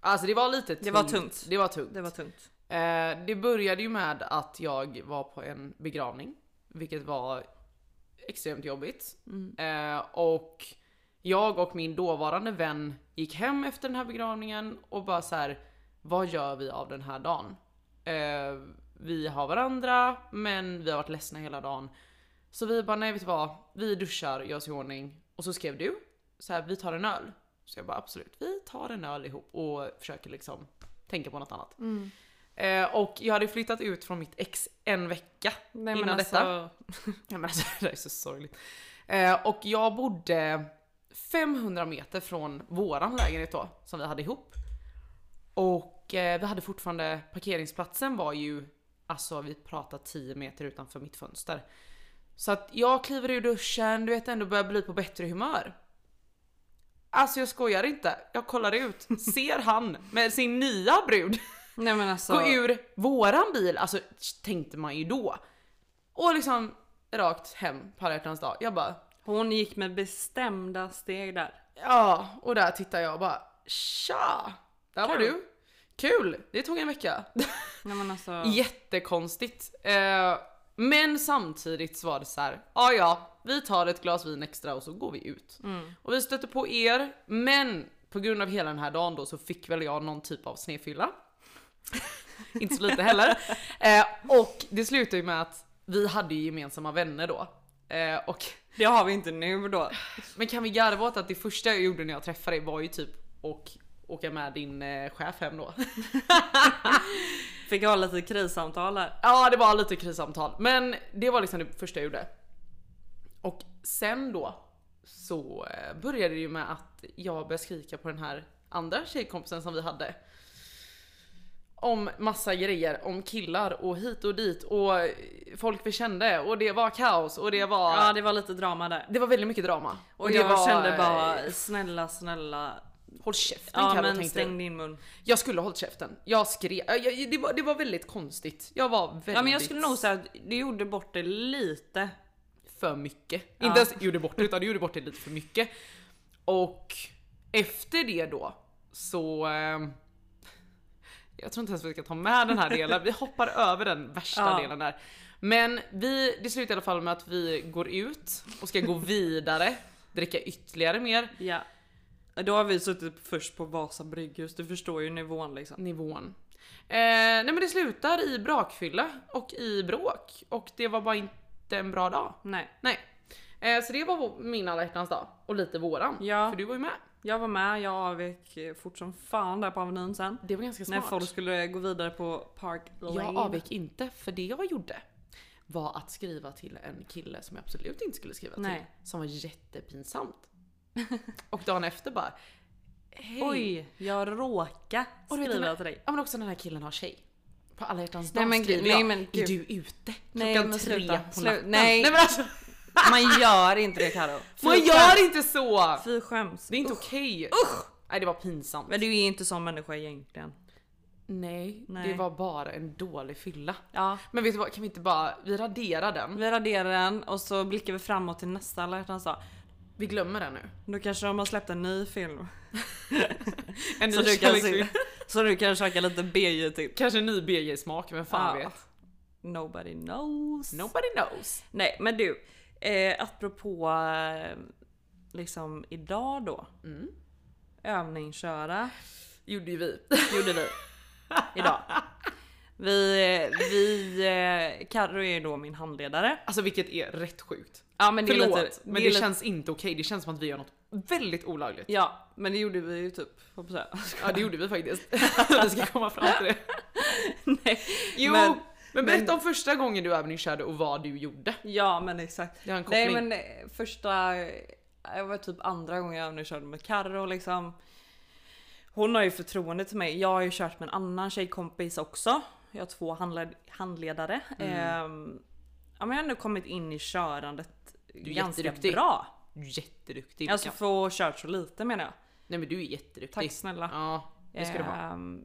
Speaker 2: Alltså det var lite tungt.
Speaker 1: Det var tungt.
Speaker 2: Det var tungt.
Speaker 1: Det var tungt.
Speaker 2: Eh, det började ju med att jag var på en begravning, vilket var extremt jobbigt. Eh, och jag och min dåvarande vän gick hem efter den här begravningen och bara så här, vad gör vi av den här dagen? Eh, vi har varandra, men vi har varit ledsna hela dagen. Så vi bara, nej vet du vad? Vi duschar, gör oss i ordning. Och så skrev du, så här, vi tar en öl. Så jag bara absolut, vi tar en öl ihop och försöker liksom tänka på något annat.
Speaker 1: Mm.
Speaker 2: Eh, och jag hade flyttat ut från mitt ex en vecka
Speaker 1: Nej,
Speaker 2: innan detta. Ja, men alltså, det här är så sorgligt. Eh, och jag bodde 500 meter från våran lägenhet då, som vi hade ihop. Och eh, vi hade fortfarande, parkeringsplatsen var ju, alltså vi pratar 10 meter utanför mitt fönster. Så att jag kliver ur duschen, du vet ändå börjar bli på bättre humör. Alltså jag skojar inte, jag kollar ut, ser han med sin nya brud
Speaker 1: Nej men alltså.
Speaker 2: gå ur våran bil, alltså tänkte man ju då. Och liksom rakt hem på alla hjärtans dag. Jag bara,
Speaker 1: Hon gick med bestämda steg där.
Speaker 2: ja, och där tittar jag och bara, tja, där var
Speaker 1: Kul.
Speaker 2: du. Kul, det tog en vecka.
Speaker 1: Nej men alltså.
Speaker 2: Jättekonstigt. Eh, men samtidigt så var det så här, ja ja, vi tar ett glas vin extra och så går vi ut. Och vi stötte på er, men på grund av hela den här dagen då så fick väl jag någon typ av snedfylla. Inte så lite heller. Eh, och det slutade ju med att vi hade ju gemensamma vänner då. Eh, och,
Speaker 1: Det har vi inte nu då.
Speaker 2: men kan vi garva åt att det första jag gjorde när jag träffade dig var ju typ och åka med din eh, chef hem då.
Speaker 1: Fick ha lite krissamtal här.
Speaker 2: Ja, det var lite krissamtal, men det var liksom det första jag gjorde. Och sen då så eh, började det ju med att jag började skrika på den här andra tjejkompisen som vi hade. Om massa grejer, om killar och hit och dit och eh, folk vi kände och det var kaos och det var...
Speaker 1: Ja det var lite drama där.
Speaker 2: Det var väldigt mycket drama.
Speaker 1: Och, jag
Speaker 2: det var,
Speaker 1: kände
Speaker 2: eh,
Speaker 1: bara snälla snälla.
Speaker 2: Håll käften
Speaker 1: Ja men
Speaker 2: Karo, tänkte jag.
Speaker 1: stäng din mun.
Speaker 2: Jag skulle ha hållit käften. Jag skrev. Jag, jag, det, var, det var väldigt konstigt. Jag var väldigt...
Speaker 1: Ja men jag skulle nog säga att du gjorde bort det lite.
Speaker 2: för mycket.
Speaker 1: Ja.
Speaker 2: Inte ens gjorde bort det utan gjorde bort det lite för mycket. Och efter det då så... Eh, jag tror inte ens vi ska ta med den här delen, vi hoppar över den värsta
Speaker 1: Ja.
Speaker 2: delen där. Men vi, det slutar i alla fall med att vi går ut och ska gå vidare, dricka ytterligare mer.
Speaker 1: Ja. Då har vi suttit först på Vasa brygghus, du förstår ju nivån liksom.
Speaker 2: nivån. Eh, nej men det slutar i brakfylla och i bråk och det var bara inte en bra dag.
Speaker 1: Nej.
Speaker 2: Nej. Eh, så det var vår- min alla hjärtans dag och lite våran.
Speaker 1: Ja.
Speaker 2: För du var ju med.
Speaker 1: Jag var med, jag avvek eh, fort som fan där på Avenyn sen.
Speaker 2: Det var ganska
Speaker 1: När
Speaker 2: smart.
Speaker 1: folk skulle gå vidare på Park Lane.
Speaker 2: Jag avvek inte för det jag gjorde var att skriva till en kille som jag absolut inte skulle skriva
Speaker 1: Nej.
Speaker 2: till. Som var jättepinsamt. och dagen efter bara Hej.
Speaker 1: Oj, jag råkade
Speaker 2: Och du vet,
Speaker 1: skriva
Speaker 2: men-
Speaker 1: till dig.
Speaker 2: Ja men också den här killen har tjej. På alla hjärtans
Speaker 1: Nej,
Speaker 2: dag
Speaker 1: men
Speaker 2: skriver
Speaker 1: gud, nej,
Speaker 2: jag.
Speaker 1: men
Speaker 2: är
Speaker 1: gud.
Speaker 2: du ute?
Speaker 1: Nej,
Speaker 2: Klockan
Speaker 1: men
Speaker 2: tre
Speaker 1: sluta.
Speaker 2: på
Speaker 1: Slu-
Speaker 2: natten.
Speaker 1: nej.
Speaker 2: nej men alltså.
Speaker 1: Man gör inte det Karo. Fy
Speaker 2: Man
Speaker 1: skäms.
Speaker 2: gör inte så!
Speaker 1: Fy skäms.
Speaker 2: Det är inte
Speaker 1: Usch.
Speaker 2: okej. Nej det var pinsamt.
Speaker 1: Men du är inte sån människa egentligen.
Speaker 2: Nej,
Speaker 1: Nej.
Speaker 2: det var bara en dålig fylla.
Speaker 1: Ja.
Speaker 2: Men vet du vad, kan vi inte bara, vi raderar den.
Speaker 1: Vi raderar den och så blickar vi framåt till nästa alla hjärtans dag.
Speaker 2: Vi glömmer den nu.
Speaker 1: Nu kanske de har släppt en ny film.
Speaker 2: En
Speaker 1: Så
Speaker 2: ny
Speaker 1: du, kan se,
Speaker 2: kärleksfilm.
Speaker 1: så du kan käka lite typ. BJ till.
Speaker 2: Kanske en ny BJ-smak, vem fan
Speaker 1: Ja.
Speaker 2: vet?
Speaker 1: Nobody knows.
Speaker 2: Nobody knows.
Speaker 1: Nej men du, eh, apropå eh, liksom idag då.
Speaker 2: Mm.
Speaker 1: Övningsköra
Speaker 2: Gjorde ju vi.
Speaker 1: gjorde vi idag. Vi, eh, vi, eh, Carro är ju då min handledare.
Speaker 2: Alltså vilket är rätt sjukt.
Speaker 1: Ja men
Speaker 2: Förlåt, men det,
Speaker 1: är lite-
Speaker 2: känns inte okej. Det känns som att vi gör något väldigt olagligt.
Speaker 1: Ja men det gjorde vi ju typ, hoppas jag.
Speaker 2: Ja det gjorde vi faktiskt. vi ska komma fram till det.
Speaker 1: Nej.
Speaker 2: Jo!
Speaker 1: Men-
Speaker 2: Men, berätta om första gången du övningskörde och vad du gjorde.
Speaker 1: Ja men exakt.
Speaker 2: Det har en koppling.
Speaker 1: Nej men eh, första, eh, det var typ andra gången jag nu körde med Carro liksom. Hon har ju förtroende till mig. Jag har ju kört med en annan tjejkompis också. Jag har två handled- handledare. Ehm, ja, men jag har nu kommit in i körandet
Speaker 2: är
Speaker 1: ganska
Speaker 2: jätteduktig.
Speaker 1: bra.
Speaker 2: Du är jätteduktig.
Speaker 1: Alltså
Speaker 2: Vilka-
Speaker 1: få kört så lite menar jag.
Speaker 2: Nej men du är jätteduktig.
Speaker 1: Tack snälla.
Speaker 2: Ja, det ska du ha.
Speaker 1: Ehm,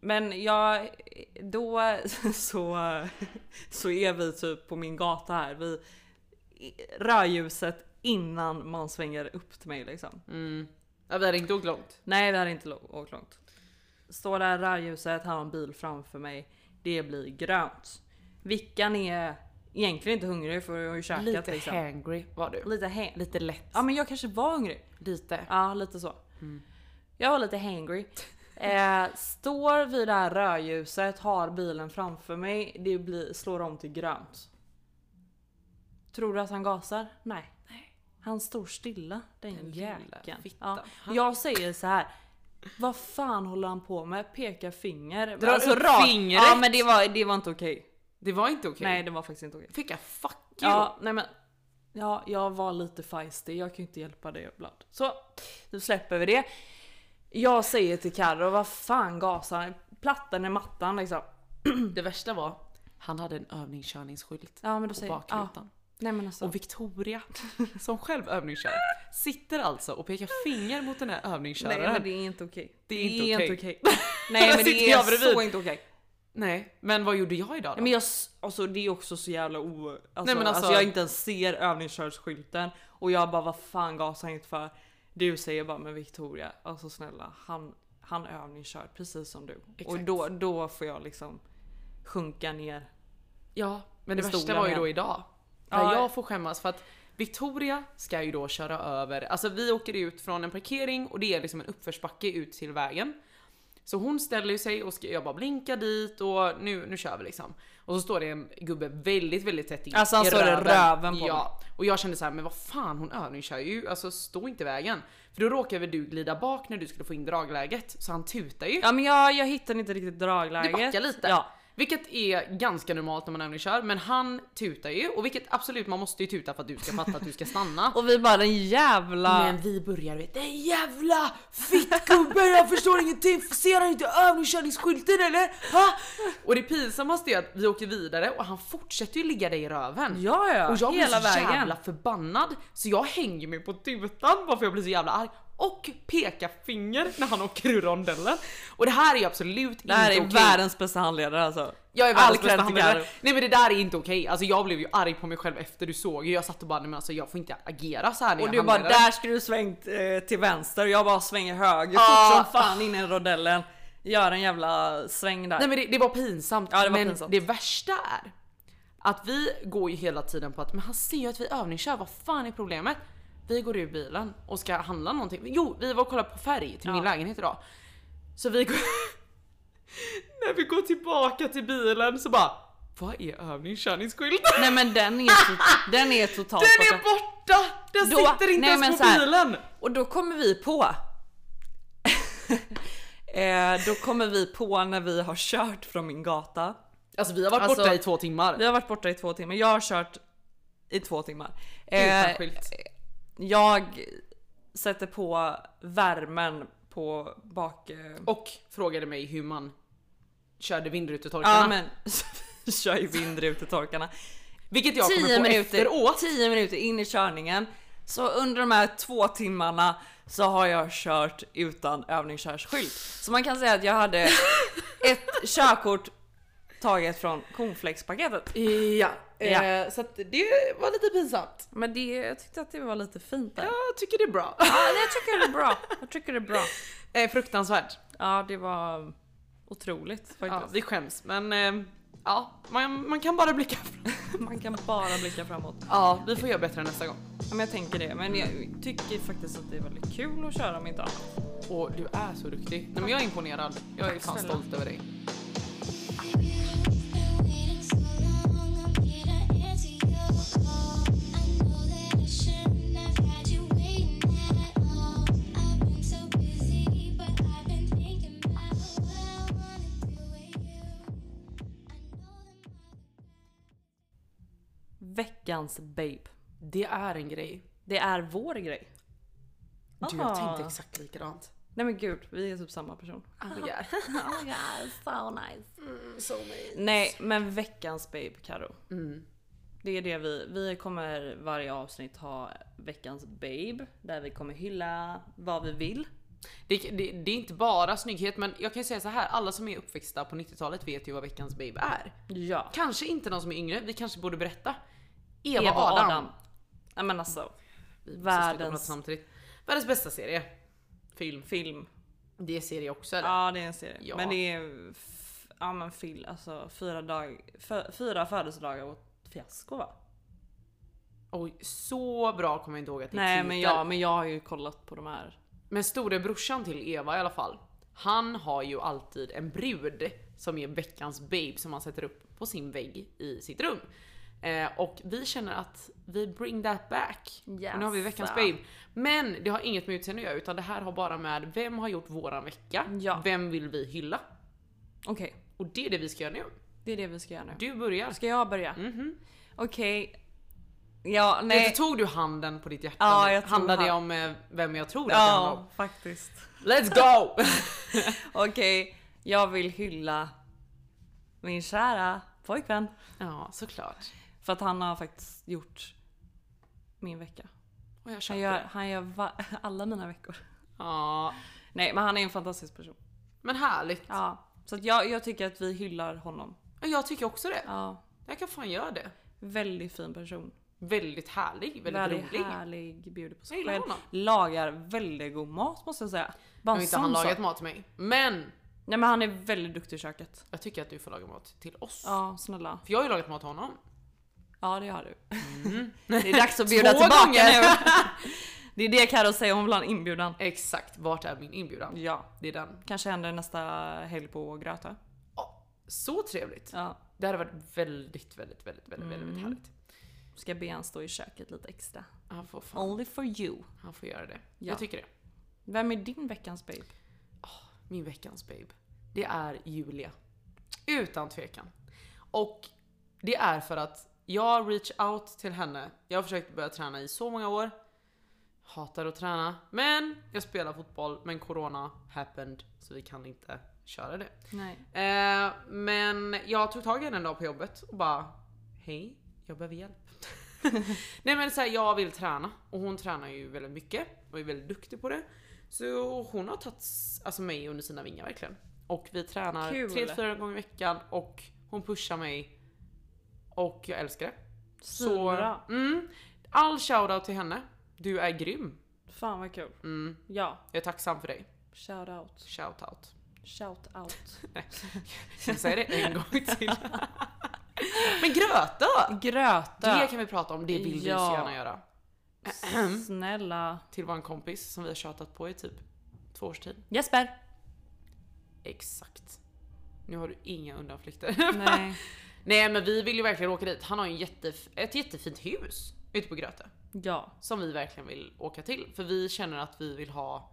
Speaker 1: Men jag, då så, så är vi typ på min gata här. Vi, rödljuset innan man svänger upp till mig liksom.
Speaker 2: Mm. Ja, vi hade inte åkt långt.
Speaker 1: Nej vi hade inte lo- åkt långt. Står där rödljuset, här har en bil framför mig. Det blir grönt. Vickan är egentligen inte hungrig för jag har ju käkat
Speaker 2: Lite
Speaker 1: liksom.
Speaker 2: hangry var du.
Speaker 1: Lite, hä-
Speaker 2: Lite lätt.
Speaker 1: Ja men jag kanske var hungrig.
Speaker 2: Lite.
Speaker 1: Ja, lite så.
Speaker 2: Mm.
Speaker 1: Jag var lite hangry. Eh, står vid det här rödljuset, har bilen framför mig. Det blir, slår om till grönt. Tror du att han gasar? Nej. Han står stilla, den,
Speaker 2: Den lilla
Speaker 1: jäkeln.
Speaker 2: fittan.
Speaker 1: Ja. Jag säger så här. Vad fan håller han på med? Pekar finger. Alltså,
Speaker 2: Drar upp
Speaker 1: rakt-
Speaker 2: fingret.
Speaker 1: Ja men det var, det var inte okej.
Speaker 2: Det var inte okej.
Speaker 1: Nej det var faktiskt inte okej.
Speaker 2: Fick jag fuck you?
Speaker 1: Ja, nej men. Ja, jag var lite feisty. Jag kan ju inte hjälpa det ibland. Så, nu släpper vi det. Jag säger till Carro, vad fan gasar han? Plattan i mattan liksom.
Speaker 2: Mm. Det värsta var, han hade en övningskörningsskylt
Speaker 1: Ja, men då
Speaker 2: på
Speaker 1: säger jag. Ja,
Speaker 2: bakrutan.
Speaker 1: nej men alltså.
Speaker 2: Och Victoria, som själv övningskör, sitter alltså och pekar finger mot den här
Speaker 1: Nej
Speaker 2: övningsköraren.
Speaker 1: men det är inte okej.
Speaker 2: Det är inte okej.
Speaker 1: Nej
Speaker 2: Där
Speaker 1: men det
Speaker 2: sitter
Speaker 1: är
Speaker 2: jag
Speaker 1: så
Speaker 2: bredvid.
Speaker 1: inte okej.
Speaker 2: Nej, men vad gjorde jag idag
Speaker 1: Nej
Speaker 2: då?
Speaker 1: men jag, s- alltså det är också så jävla o... Alltså,
Speaker 2: Nej, men
Speaker 1: alltså,
Speaker 2: alltså-
Speaker 1: jag inte ens ser övningskörskylten och jag bara vad fan gasar han inte för? Du säger bara men Victoria, alltså snälla han, han övningskör precis som du. Och
Speaker 2: Exakt.
Speaker 1: då, då får jag liksom sjunka ner.
Speaker 2: Ja, men det
Speaker 1: Med
Speaker 2: värsta
Speaker 1: stolen
Speaker 2: var ju
Speaker 1: igen.
Speaker 2: då idag. Där
Speaker 1: Ja.
Speaker 2: jag får skämmas för att Victoria ska ju då köra över, alltså vi åker ut från en parkering och det är liksom en uppförsbacke ut till vägen. Så hon ställer ju sig och ska, jag bara blinkar dit och nu, nu kör vi liksom. Och så står det en gubbe väldigt, väldigt tätt in
Speaker 1: Alltså, han
Speaker 2: i
Speaker 1: står i röven på
Speaker 2: Ja, och jag kände så här, men vad fan hon övningskör ju, alltså stå inte i vägen. För då råkade du glida bak när du skulle få in dragläget, så han tutar ju.
Speaker 1: Ja men jag, jag hittar inte riktigt
Speaker 2: Du
Speaker 1: dragläget.
Speaker 2: backar lite.
Speaker 1: Ja.
Speaker 2: Vilket är ganska normalt när man övningskör, men han tutar ju och vilket absolut man måste ju tuta för att du ska fatta att du ska stanna.
Speaker 1: Och vi bara den jävla...
Speaker 2: Men vi börjar vet den jävla fittgubben, jag förstår ingenting, ser han inte övningskörningsskylten eller? Ha? Och det pinsammaste är att vi åker vidare och han fortsätter ju ligga dig i röven.
Speaker 1: Ja ja,
Speaker 2: Och jag blir
Speaker 1: hela
Speaker 2: så
Speaker 1: vägen.
Speaker 2: jävla förbannad så jag hänger mig på tutan bara för jag blir så jävla arg. Och pekar finger när han åker ur rondellen. Och det här är absolut
Speaker 1: Det här
Speaker 2: inte
Speaker 1: är
Speaker 2: okej.
Speaker 1: världens bästa handledare alltså.
Speaker 2: Jag är
Speaker 1: All
Speaker 2: världens
Speaker 1: cred
Speaker 2: bästa
Speaker 1: till
Speaker 2: handledare.
Speaker 1: Karo.
Speaker 2: Nej men det där är inte okej. Alltså jag blev ju arg på mig själv efter du såg ju. Jag satt och bara nej men alltså jag får inte agera så här när
Speaker 1: Och
Speaker 2: jag
Speaker 1: du bara
Speaker 2: handledare.
Speaker 1: där skulle du svängt eh, till vänster och jag bara svänger höger
Speaker 2: Ah.
Speaker 1: fort som fan in i rondellen. Gör en jävla sväng där.
Speaker 2: Nej men det, det var pinsamt.
Speaker 1: Ja, det var
Speaker 2: men
Speaker 1: pinsamt.
Speaker 2: det värsta är att vi går ju hela tiden på att men han ser ju att vi övningskör, vad fan är problemet? Vi går ur bilen och ska handla någonting. Jo, vi var och kollade på färg till min
Speaker 1: Ja.
Speaker 2: lägenhet idag. Så vi går... När vi går tillbaka till bilen så bara, vad är övningskörningsskylten?
Speaker 1: Nej men den är, to- den är totalt
Speaker 2: Den är
Speaker 1: borta.
Speaker 2: borta! Den
Speaker 1: Då-
Speaker 2: sitter inte
Speaker 1: nej, men
Speaker 2: ens
Speaker 1: så
Speaker 2: på
Speaker 1: här-
Speaker 2: bilen!
Speaker 1: Och då kommer vi på. eh, då kommer vi på när vi har kört från min gata.
Speaker 2: Alltså vi har varit
Speaker 1: Alltså,
Speaker 2: borta i två timmar.
Speaker 1: Vi har varit borta i två timmar. Jag har kört i två timmar.
Speaker 2: Utan
Speaker 1: Eh,
Speaker 2: skylt.
Speaker 1: jag sätter på värmen på bak... eh,
Speaker 2: Och frågade mig hur man körde vindrutetorkarna.
Speaker 1: Ja men vi kör ju vindrutetorkarna.
Speaker 2: Vilket jag kommer
Speaker 3: 10
Speaker 2: på
Speaker 3: minuter,
Speaker 2: efteråt.
Speaker 3: 10 minuter in i körningen. Så under de här två timmarna så har jag kört utan övningskörskylt. Så man kan säga att jag hade ett körkort taget från cornflakespaketet.
Speaker 2: Ja,
Speaker 3: Ja.
Speaker 2: Eh, så att det var lite pinsamt.
Speaker 3: Men det, jag tyckte att det var lite fint där.
Speaker 2: Jag tycker det är bra.
Speaker 3: Ja, jag tycker det är bra. Jag tycker det är bra.
Speaker 2: Eh, fruktansvärt.
Speaker 3: Ja, det var otroligt
Speaker 2: Ja,
Speaker 3: faktiskt.
Speaker 2: vi skäms men eh, ja, man, man kan bara blicka framåt.
Speaker 3: Man kan bara blicka framåt.
Speaker 2: Ja, vi får göra bättre nästa gång.
Speaker 3: Ja, men jag tänker det. Men jag tycker faktiskt att det är väldigt kul att köra om inte annat.
Speaker 2: Och du är så duktig. Nej, men jag är imponerad. Jag är fan
Speaker 3: snälla.
Speaker 2: stolt över dig.
Speaker 1: Veckans babe.
Speaker 2: Det är en grej.
Speaker 1: Det är vår grej.
Speaker 2: Du, jag
Speaker 1: Ah.
Speaker 2: tänkte exakt likadant.
Speaker 3: Nej men gud, vi är typ samma person.
Speaker 2: Oh my God.
Speaker 3: Oh god, so nice.
Speaker 2: Mm, So nice.
Speaker 1: Nej, men veckans babe Karo.
Speaker 2: Mm.
Speaker 1: Det är det vi, vi kommer varje avsnitt ha veckans babe. Där vi kommer hylla vad vi vill.
Speaker 2: Det, det, det är inte bara snygghet men jag kan ju säga så här. alla som är uppväxta på 90-talet vet ju vad veckans babe är.
Speaker 1: Ja.
Speaker 2: Kanske inte någon som är yngre, vi kanske borde berätta. Eva,
Speaker 1: Eva
Speaker 2: och Adam.
Speaker 1: Adam. Ja men alltså.
Speaker 2: Vi måste sluta prata
Speaker 1: Världens
Speaker 2: samtidigt. Världens bästa serie. Film.
Speaker 1: film.
Speaker 2: Det är serie också eller?
Speaker 1: Ja det är en serie.
Speaker 2: Ja.
Speaker 1: Men det är... f- Ja men film, alltså fyra, dag, fö, fyra födelsedagar och ett fiasko va?
Speaker 2: Oj, så bra kommer jag inte ihåg att det är
Speaker 1: Nej
Speaker 2: titel.
Speaker 1: men jag, men jag har ju kollat på de här.
Speaker 2: Men storebrorsan till Eva i alla fall. Han har ju alltid en brud som är veckans babe som han sätter upp på sin vägg i sitt rum. Eh, och vi känner att vi bring that back. Och nu har vi veckans
Speaker 1: Jaså.
Speaker 2: babe. Men det har inget med utseende att göra utan det här har bara med vem har gjort våran vecka?
Speaker 1: Ja.
Speaker 2: Vem vill vi hylla?
Speaker 1: Okej,
Speaker 2: Och det är det vi ska göra nu.
Speaker 1: det är det vi ska göra nu.
Speaker 2: Du börjar.
Speaker 1: Ska jag börja?
Speaker 2: Mhm.
Speaker 1: Okej. Ja
Speaker 2: Nej.
Speaker 1: nej.
Speaker 2: Tog du handen på ditt hjärta?
Speaker 1: Ja,
Speaker 2: nu?
Speaker 1: jag tror
Speaker 2: Handlar det
Speaker 1: han-
Speaker 2: om eh, vem jag tror att det handlar om?
Speaker 1: Ja faktiskt.
Speaker 2: Let's go!
Speaker 1: Okej, jag vill hylla min kära pojkvän.
Speaker 2: ja, såklart.
Speaker 1: För att han har faktiskt gjort min vecka.
Speaker 2: Och jag
Speaker 1: Han
Speaker 2: köpte
Speaker 1: gör,
Speaker 2: det.
Speaker 1: han gör va- alla mina veckor.
Speaker 2: Ja,
Speaker 1: Nej men han är en fantastisk person.
Speaker 2: men härligt.
Speaker 1: Ja. Så att jag, jag tycker att vi hyllar honom.
Speaker 2: Ja, Jag tycker också det.
Speaker 1: Ja.
Speaker 2: Jag kan fan göra det.
Speaker 1: Väldigt fin person.
Speaker 2: Väldigt härlig, väldigt rolig.
Speaker 1: härlig, bjuder på
Speaker 2: Jag
Speaker 1: sig
Speaker 2: gillar
Speaker 1: själv.
Speaker 2: honom.
Speaker 1: Lagar väldigt god mat måste jag säga. Bara
Speaker 2: Nu har
Speaker 1: en
Speaker 2: inte han
Speaker 1: sån
Speaker 2: lagat
Speaker 1: sak.
Speaker 2: mat till mig. Men
Speaker 1: Nej men han är väldigt duktig i köket.
Speaker 2: jag tycker att du får laga mat till oss.
Speaker 1: Ja snälla.
Speaker 2: För jag har ju lagat mat till honom.
Speaker 1: Ja det har du. Det är dags att bjuda
Speaker 2: Två
Speaker 1: tillbaka
Speaker 2: gånger.
Speaker 1: Mm. nu. Det är det Carro säger, hon vill ha en inbjudan.
Speaker 2: Exakt, vart är min inbjudan?
Speaker 1: Ja.
Speaker 2: Det är den.
Speaker 1: Kanske händer nästa helg på Gröta.
Speaker 2: Ja, så trevligt.
Speaker 1: Ja. Mm.
Speaker 2: Det hade varit väldigt, väldigt, väldigt, väldigt, väldigt härligt.
Speaker 1: Ska be han stå i köket lite extra.
Speaker 2: Han får, fan,
Speaker 1: Only for you.
Speaker 2: han får göra det.
Speaker 1: Ja.
Speaker 2: Jag tycker det.
Speaker 1: Vem är din veckans babe?
Speaker 2: min veckans babe, det är Julia. Utan tvekan. Och det är för att jag reach out till henne. Jag har försökt börja träna i så många år. Hatar att träna. Men jag spelar fotboll, men corona happened så vi kan inte köra det.
Speaker 1: Nej.
Speaker 2: Eh, men jag tog tag i henne en dag på jobbet och bara Hej, jag behöver hjälp. Nej men så här, jag vill träna och hon tränar ju väldigt mycket och är väldigt duktig på det. Så hon har tagit s- alltså, mig under sina vingar verkligen. Och vi tränar
Speaker 1: Kul.
Speaker 2: tre till fyra gånger i veckan och hon pushar mig. Och jag älskar det.
Speaker 1: Så bra.
Speaker 2: mm, all shoutout till henne. Du är grym.
Speaker 1: Fan vad kul.
Speaker 2: Mm,
Speaker 1: Ja,
Speaker 2: jag är tacksam för dig.
Speaker 1: shout out.
Speaker 2: Shoutout.
Speaker 1: Shout out.
Speaker 2: Jag säger det en gång till. Men gröta!
Speaker 1: Gröta.
Speaker 2: Det kan vi prata om, det vill vi
Speaker 1: Ja.
Speaker 2: så gärna göra.
Speaker 1: Snälla.
Speaker 2: Till vår kompis som vi har tjatat på i typ två års tid.
Speaker 1: Jesper.
Speaker 2: Exakt. Nu har du inga undanflykter.
Speaker 1: Nej.
Speaker 2: Nej men vi vill ju verkligen åka dit. Han har ju en jättef- ett jättefint hus ute på Gröte.
Speaker 1: Ja.
Speaker 2: Som vi verkligen vill åka till. För vi känner att vi vill ha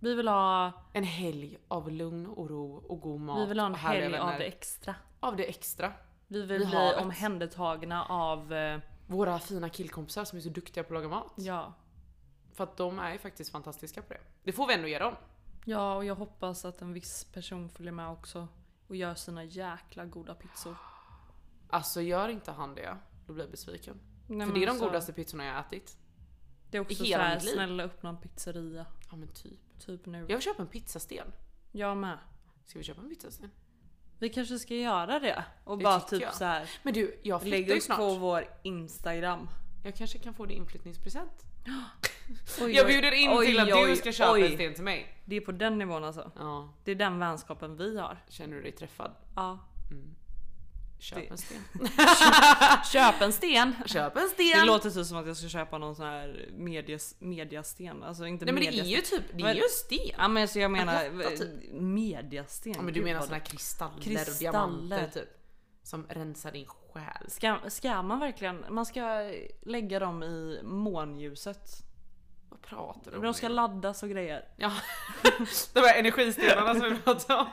Speaker 1: Vi vill ha,
Speaker 2: en helg av lugn och ro och god mat.
Speaker 1: vi vill ha en
Speaker 2: och härliga
Speaker 1: helg av
Speaker 2: vänner.
Speaker 1: det extra.
Speaker 2: av det extra.
Speaker 1: Vi vill
Speaker 2: Vid
Speaker 1: bli
Speaker 2: havet.
Speaker 1: omhändertagna av, eh,
Speaker 2: Våra fina killkompisar som är så duktiga på att laga mat.
Speaker 1: ja.
Speaker 2: För att de är ju faktiskt fantastiska på det. Det får vi ändå ge dem.
Speaker 1: Ja och jag hoppas att en viss person följer med också. Och gör sina jäkla goda pizzor.
Speaker 2: Alltså gör inte han det, Då blir jag besviken.
Speaker 1: Nej,
Speaker 2: För
Speaker 1: men
Speaker 2: det är de
Speaker 1: alltså,
Speaker 2: godaste pizzorna jag har ätit.
Speaker 1: Det är också
Speaker 2: i hela
Speaker 1: såhär,
Speaker 2: mitt liv.
Speaker 1: snälla öppna en pizzeria.
Speaker 2: Ja men typ.
Speaker 1: Typ nu.
Speaker 2: Jag vill köpa en pizzasten.
Speaker 1: Jag med.
Speaker 2: Ska vi köpa en pizzasten?
Speaker 1: Vi kanske ska göra det. Och
Speaker 2: Det
Speaker 1: bara
Speaker 2: tycker
Speaker 1: typ
Speaker 2: jag.
Speaker 1: så här.
Speaker 2: Men du, jag
Speaker 1: Lägg
Speaker 2: flyttar ju
Speaker 1: upp på
Speaker 2: snart.
Speaker 1: vår Instagram.
Speaker 2: Jag kanske kan få det i inflyttningspresent.
Speaker 1: Oj,
Speaker 2: Jag
Speaker 1: oj,
Speaker 2: bjuder in
Speaker 1: oj,
Speaker 2: till att
Speaker 1: oj,
Speaker 2: du ska köpa
Speaker 1: oj.
Speaker 2: en sten till mig.
Speaker 1: Det är på den nivån alltså.
Speaker 2: Ja,
Speaker 1: Det är den vänskapen vi har.
Speaker 2: känner du dig träffad? Mm.
Speaker 1: Ja.
Speaker 2: Köp
Speaker 1: Det-
Speaker 2: en sten.
Speaker 1: Köp en sten!
Speaker 2: Köp en
Speaker 1: Det
Speaker 2: sten!
Speaker 1: låter typ som att jag ska köpa någon sån här medias, mediasten. Alltså inte
Speaker 2: Nej men det är
Speaker 1: mediasten.
Speaker 2: ju typ, det är
Speaker 1: Men-
Speaker 2: ju en sten.
Speaker 1: Ja men så jag menar
Speaker 2: En platta typ.
Speaker 1: mediasten.
Speaker 2: Ja, men du
Speaker 1: Gud,
Speaker 2: menar
Speaker 1: vad-
Speaker 2: såna här kristaller, och
Speaker 1: Kristaller.
Speaker 2: diamanter typ? Som rensar din själ.
Speaker 1: Ska, ska man verkligen, man ska lägga dem i månljuset.
Speaker 2: Vad pratar du om?
Speaker 1: De ska
Speaker 2: nu?
Speaker 1: laddas och grejer.
Speaker 2: ja. De här energistenarna som vi pratade om.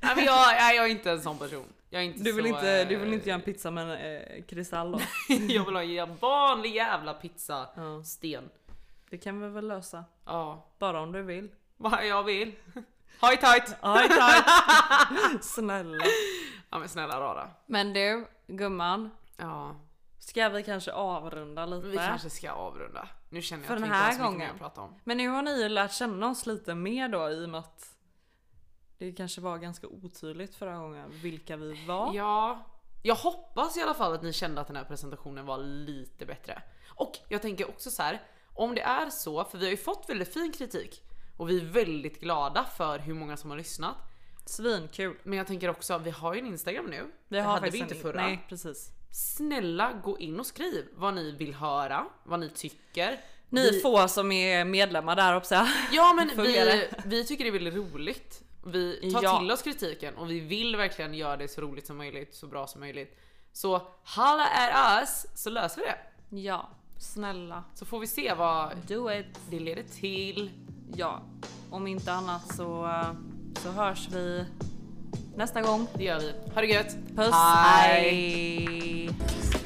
Speaker 2: Nej men jag, nej, jag är inte en sån person. Jag är inte
Speaker 1: Du vill,
Speaker 2: så,
Speaker 1: inte,
Speaker 2: eh,
Speaker 1: du vill inte göra en pizza med en eh, kristall då?
Speaker 2: Jag vill ha en vanlig jävla pizza.
Speaker 1: ja.
Speaker 2: Sten.
Speaker 1: Det kan vi väl lösa?
Speaker 2: Ja,
Speaker 1: Bara om du vill.
Speaker 2: vad jag vill. High tight!
Speaker 1: Aj, tack. Snälla.
Speaker 2: Ja men snälla rara.
Speaker 1: Men du, gumman.
Speaker 2: Ja,
Speaker 1: Ska vi kanske avrunda lite?
Speaker 2: vi kanske ska avrunda. Nu känner jag
Speaker 1: För
Speaker 2: att vi
Speaker 1: den
Speaker 2: inte har
Speaker 1: här
Speaker 2: så mycket mer
Speaker 1: gången.
Speaker 2: att prata om.
Speaker 1: Men nu har ni ju lärt känna oss lite mer då i och med att det kanske var ganska otydligt förra gången vilka vi var.
Speaker 2: Ja, jag hoppas i alla fall att ni kände att den här presentationen var lite bättre. Och jag tänker också så här, om det är så, för vi har ju fått väldigt fin kritik och vi är väldigt glada för hur många som har lyssnat.
Speaker 1: Svinkul.
Speaker 2: Men jag tänker också, vi har ju en Instagram nu.
Speaker 1: Vi har
Speaker 2: det hade vi
Speaker 1: faktiskt
Speaker 2: inte
Speaker 1: en-
Speaker 2: förra.
Speaker 1: Nej precis.
Speaker 2: Snälla gå in och skriv vad ni vill höra, vad ni tycker.
Speaker 1: Ni få som är medlemmar där också.
Speaker 2: Ja men vi,
Speaker 1: Följare.
Speaker 2: vi tycker det är väldigt roligt. Vi tar
Speaker 1: Ja.
Speaker 2: till oss kritiken och vi vill verkligen göra det så roligt som möjligt, så bra som möjligt. Så halla är us så löser vi det.
Speaker 1: Ja, snälla.
Speaker 2: Så får vi se vad
Speaker 1: Do it.
Speaker 2: det leder till.
Speaker 1: Ja, om inte annat så, eh, så hörs vi nästa gång.
Speaker 2: Det gör vi. Ha det gött!
Speaker 1: Puss.
Speaker 2: Hej.
Speaker 1: Hej.